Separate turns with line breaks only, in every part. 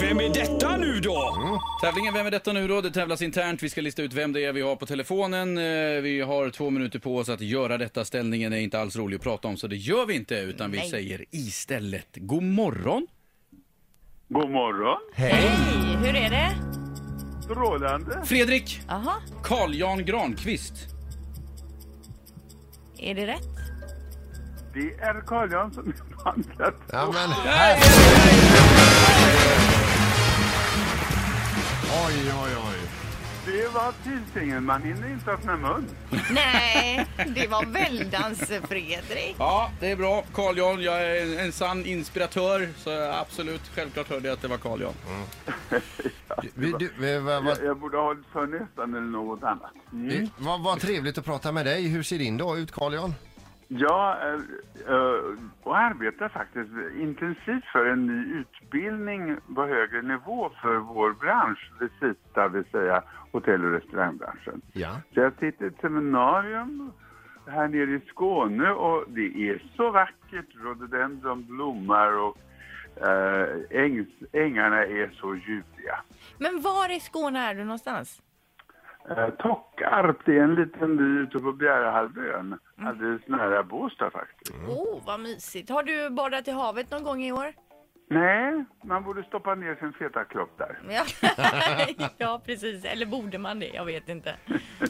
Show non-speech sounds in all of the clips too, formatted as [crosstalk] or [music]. Vem är detta nu då? Tävlingen Vem är detta nu då? Det tävlas internt. Vi ska lista ut vem det är vi har på telefonen. Eh, Vi har två minuter på oss att göra detta. Ställningen är inte alls rolig att prata om, så det gör vi inte, utan vi säger istället god morgon.
God morgon.
Hej, hur är det?
Strålande.
Fredrik
Jaha,
Carl-Jan Granqvist.
är det rätt?
Det är Carl Jan som är bandlet.
Ja, men... Oj, oj, oj.
Det var Tysingen. Man hinner inte öppna mun.
[laughs] Nej, det var väldans Fredrik.
Ja, det är bra. Carl-Jan, jag är en- en sann inspiratör, så jag absolut, självklart hörde jag att det var Carl-Jan.
Vi, du, vi, vad,
Jag,
vad,
jag borde ha hållit för näsan eller något annat. Mm.
vi- vad, vad trevligt att prata med dig. Hur ser din dag ut, Carl-Jan?
Jag eh, eh, och arbetar faktiskt intensivt för en ny utbildning på högre nivå för vår bransch, Visita, vill säga hotell och restaurangbranschen.
Ja.
Så jag sitter i ett seminarium här nere i Skåne och det är så vackert. Rhododendron blommar och eh, ängs, ängarna är så ljuvliga.
Men var i Skåne är du någonstans?
Eh, Tockarp, det är en liten by ute på Bjärehalvön, alldeles nära Båstad faktiskt.
Åh, oh, vad mysigt. Har du badat i havet någon gång i år?
Nej, man borde stoppa ner sin feta kropp där.
[laughs] Ja, [laughs] ja precis. Eller borde man det? Jag vet inte.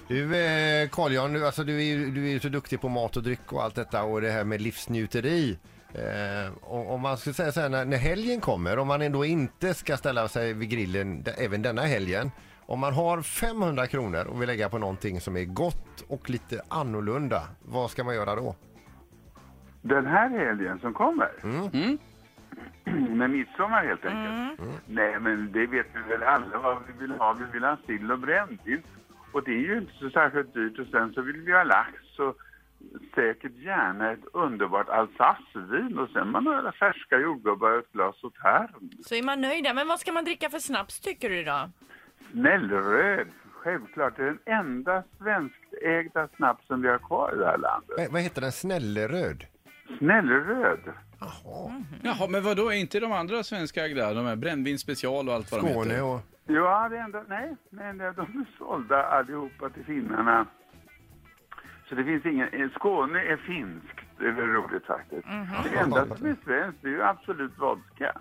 Du, eh, Carl-Jan, du, alltså, du är ju du är ju så duktig på mat och dryck och allt detta och det här med livsnjuteri. Eh, och, om man skulle säga så här, när, när helgen kommer, om man ändå inte ska ställa sig vid grillen d- även denna helgen. Om man har 500 kronor och vill lägga på någonting som är gott och lite annorlunda, vad ska man göra då?
Den här helgen som kommer? Mm. [clears throat] Med midsommar helt enkelt? Mm. Nej, men det vet vi väl alla vad vi vill ha. Vi vill ha sill och brännvin. Och det är ju inte så särskilt dyrt. Och sen så vill vi ha lax och säkert gärna ett underbart alsacevin. Och sen man har alla färska jordgubbar och ett glas sautern.
Så är man nöjd där. Men vad ska man dricka för snaps tycker du då?
Snällröd, självklart. Det är den enda svenskägda snapsen vi har kvar i det här landet.
Vad, vad heter den? Snälleröd?
Snällröd.
Jaha, men vad då är inte de andra svenska ägda? De här Brännvin special och allt vad de
Skåne
heter.
och...
Ja, det enda, nej, men de är sålda allihopa till finnarna. Så det finns ingen, eh, Skåne är finskt, det är väl roligt faktiskt.
Mhm.
Det enda som är svenskt det är ju absolut vodka.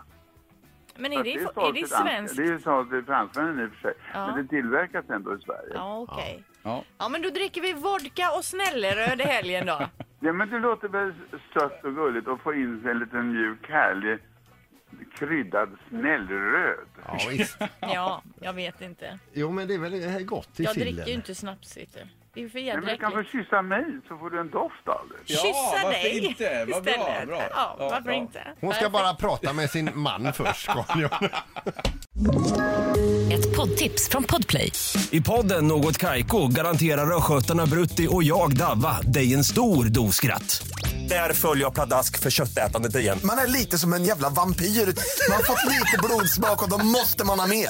Men är det,
Fast
är
sålt
det
till danska-
svenskt?
Det är ju sålt till fransmännen i och för sig,
Ja.
men det tillverkas ändå i Sverige. Ja.
Ja, okej.
Ja.
Ja, men då dricker vi vodka och snälleröd i helgen
[laughs]
då.
men det låter väl sött och gulligt att få in sig en liten mjuk, härlig, kryddad snällröd.
Ja, visst.
Ja, jag vet inte.
Jo, men det är väl gott i
Jag
sillen?
dricker ju inte snaps, vet du. Det är för
Nej,
jädra
men du kan få
äckligt.
kyssa mig så får du en doft av det.
Ja,
Kyssa
varför
dig
inte? Vad bra,
istället.
bra.
Ja,
Ja,
varför
ja.
inte?
Hon ska bara prata med sin man först, Carl-Jan.
Ett poddtips från Podplay.
I podden Något Kaiko garanterar östgötarna Brutti och jag, Davva, dig en stor dos skratt. Där följer jag pladask för köttätandet igen.
Man är lite som en jävla vampyr. Man har fått lite blodsmak och då måste man ha mer.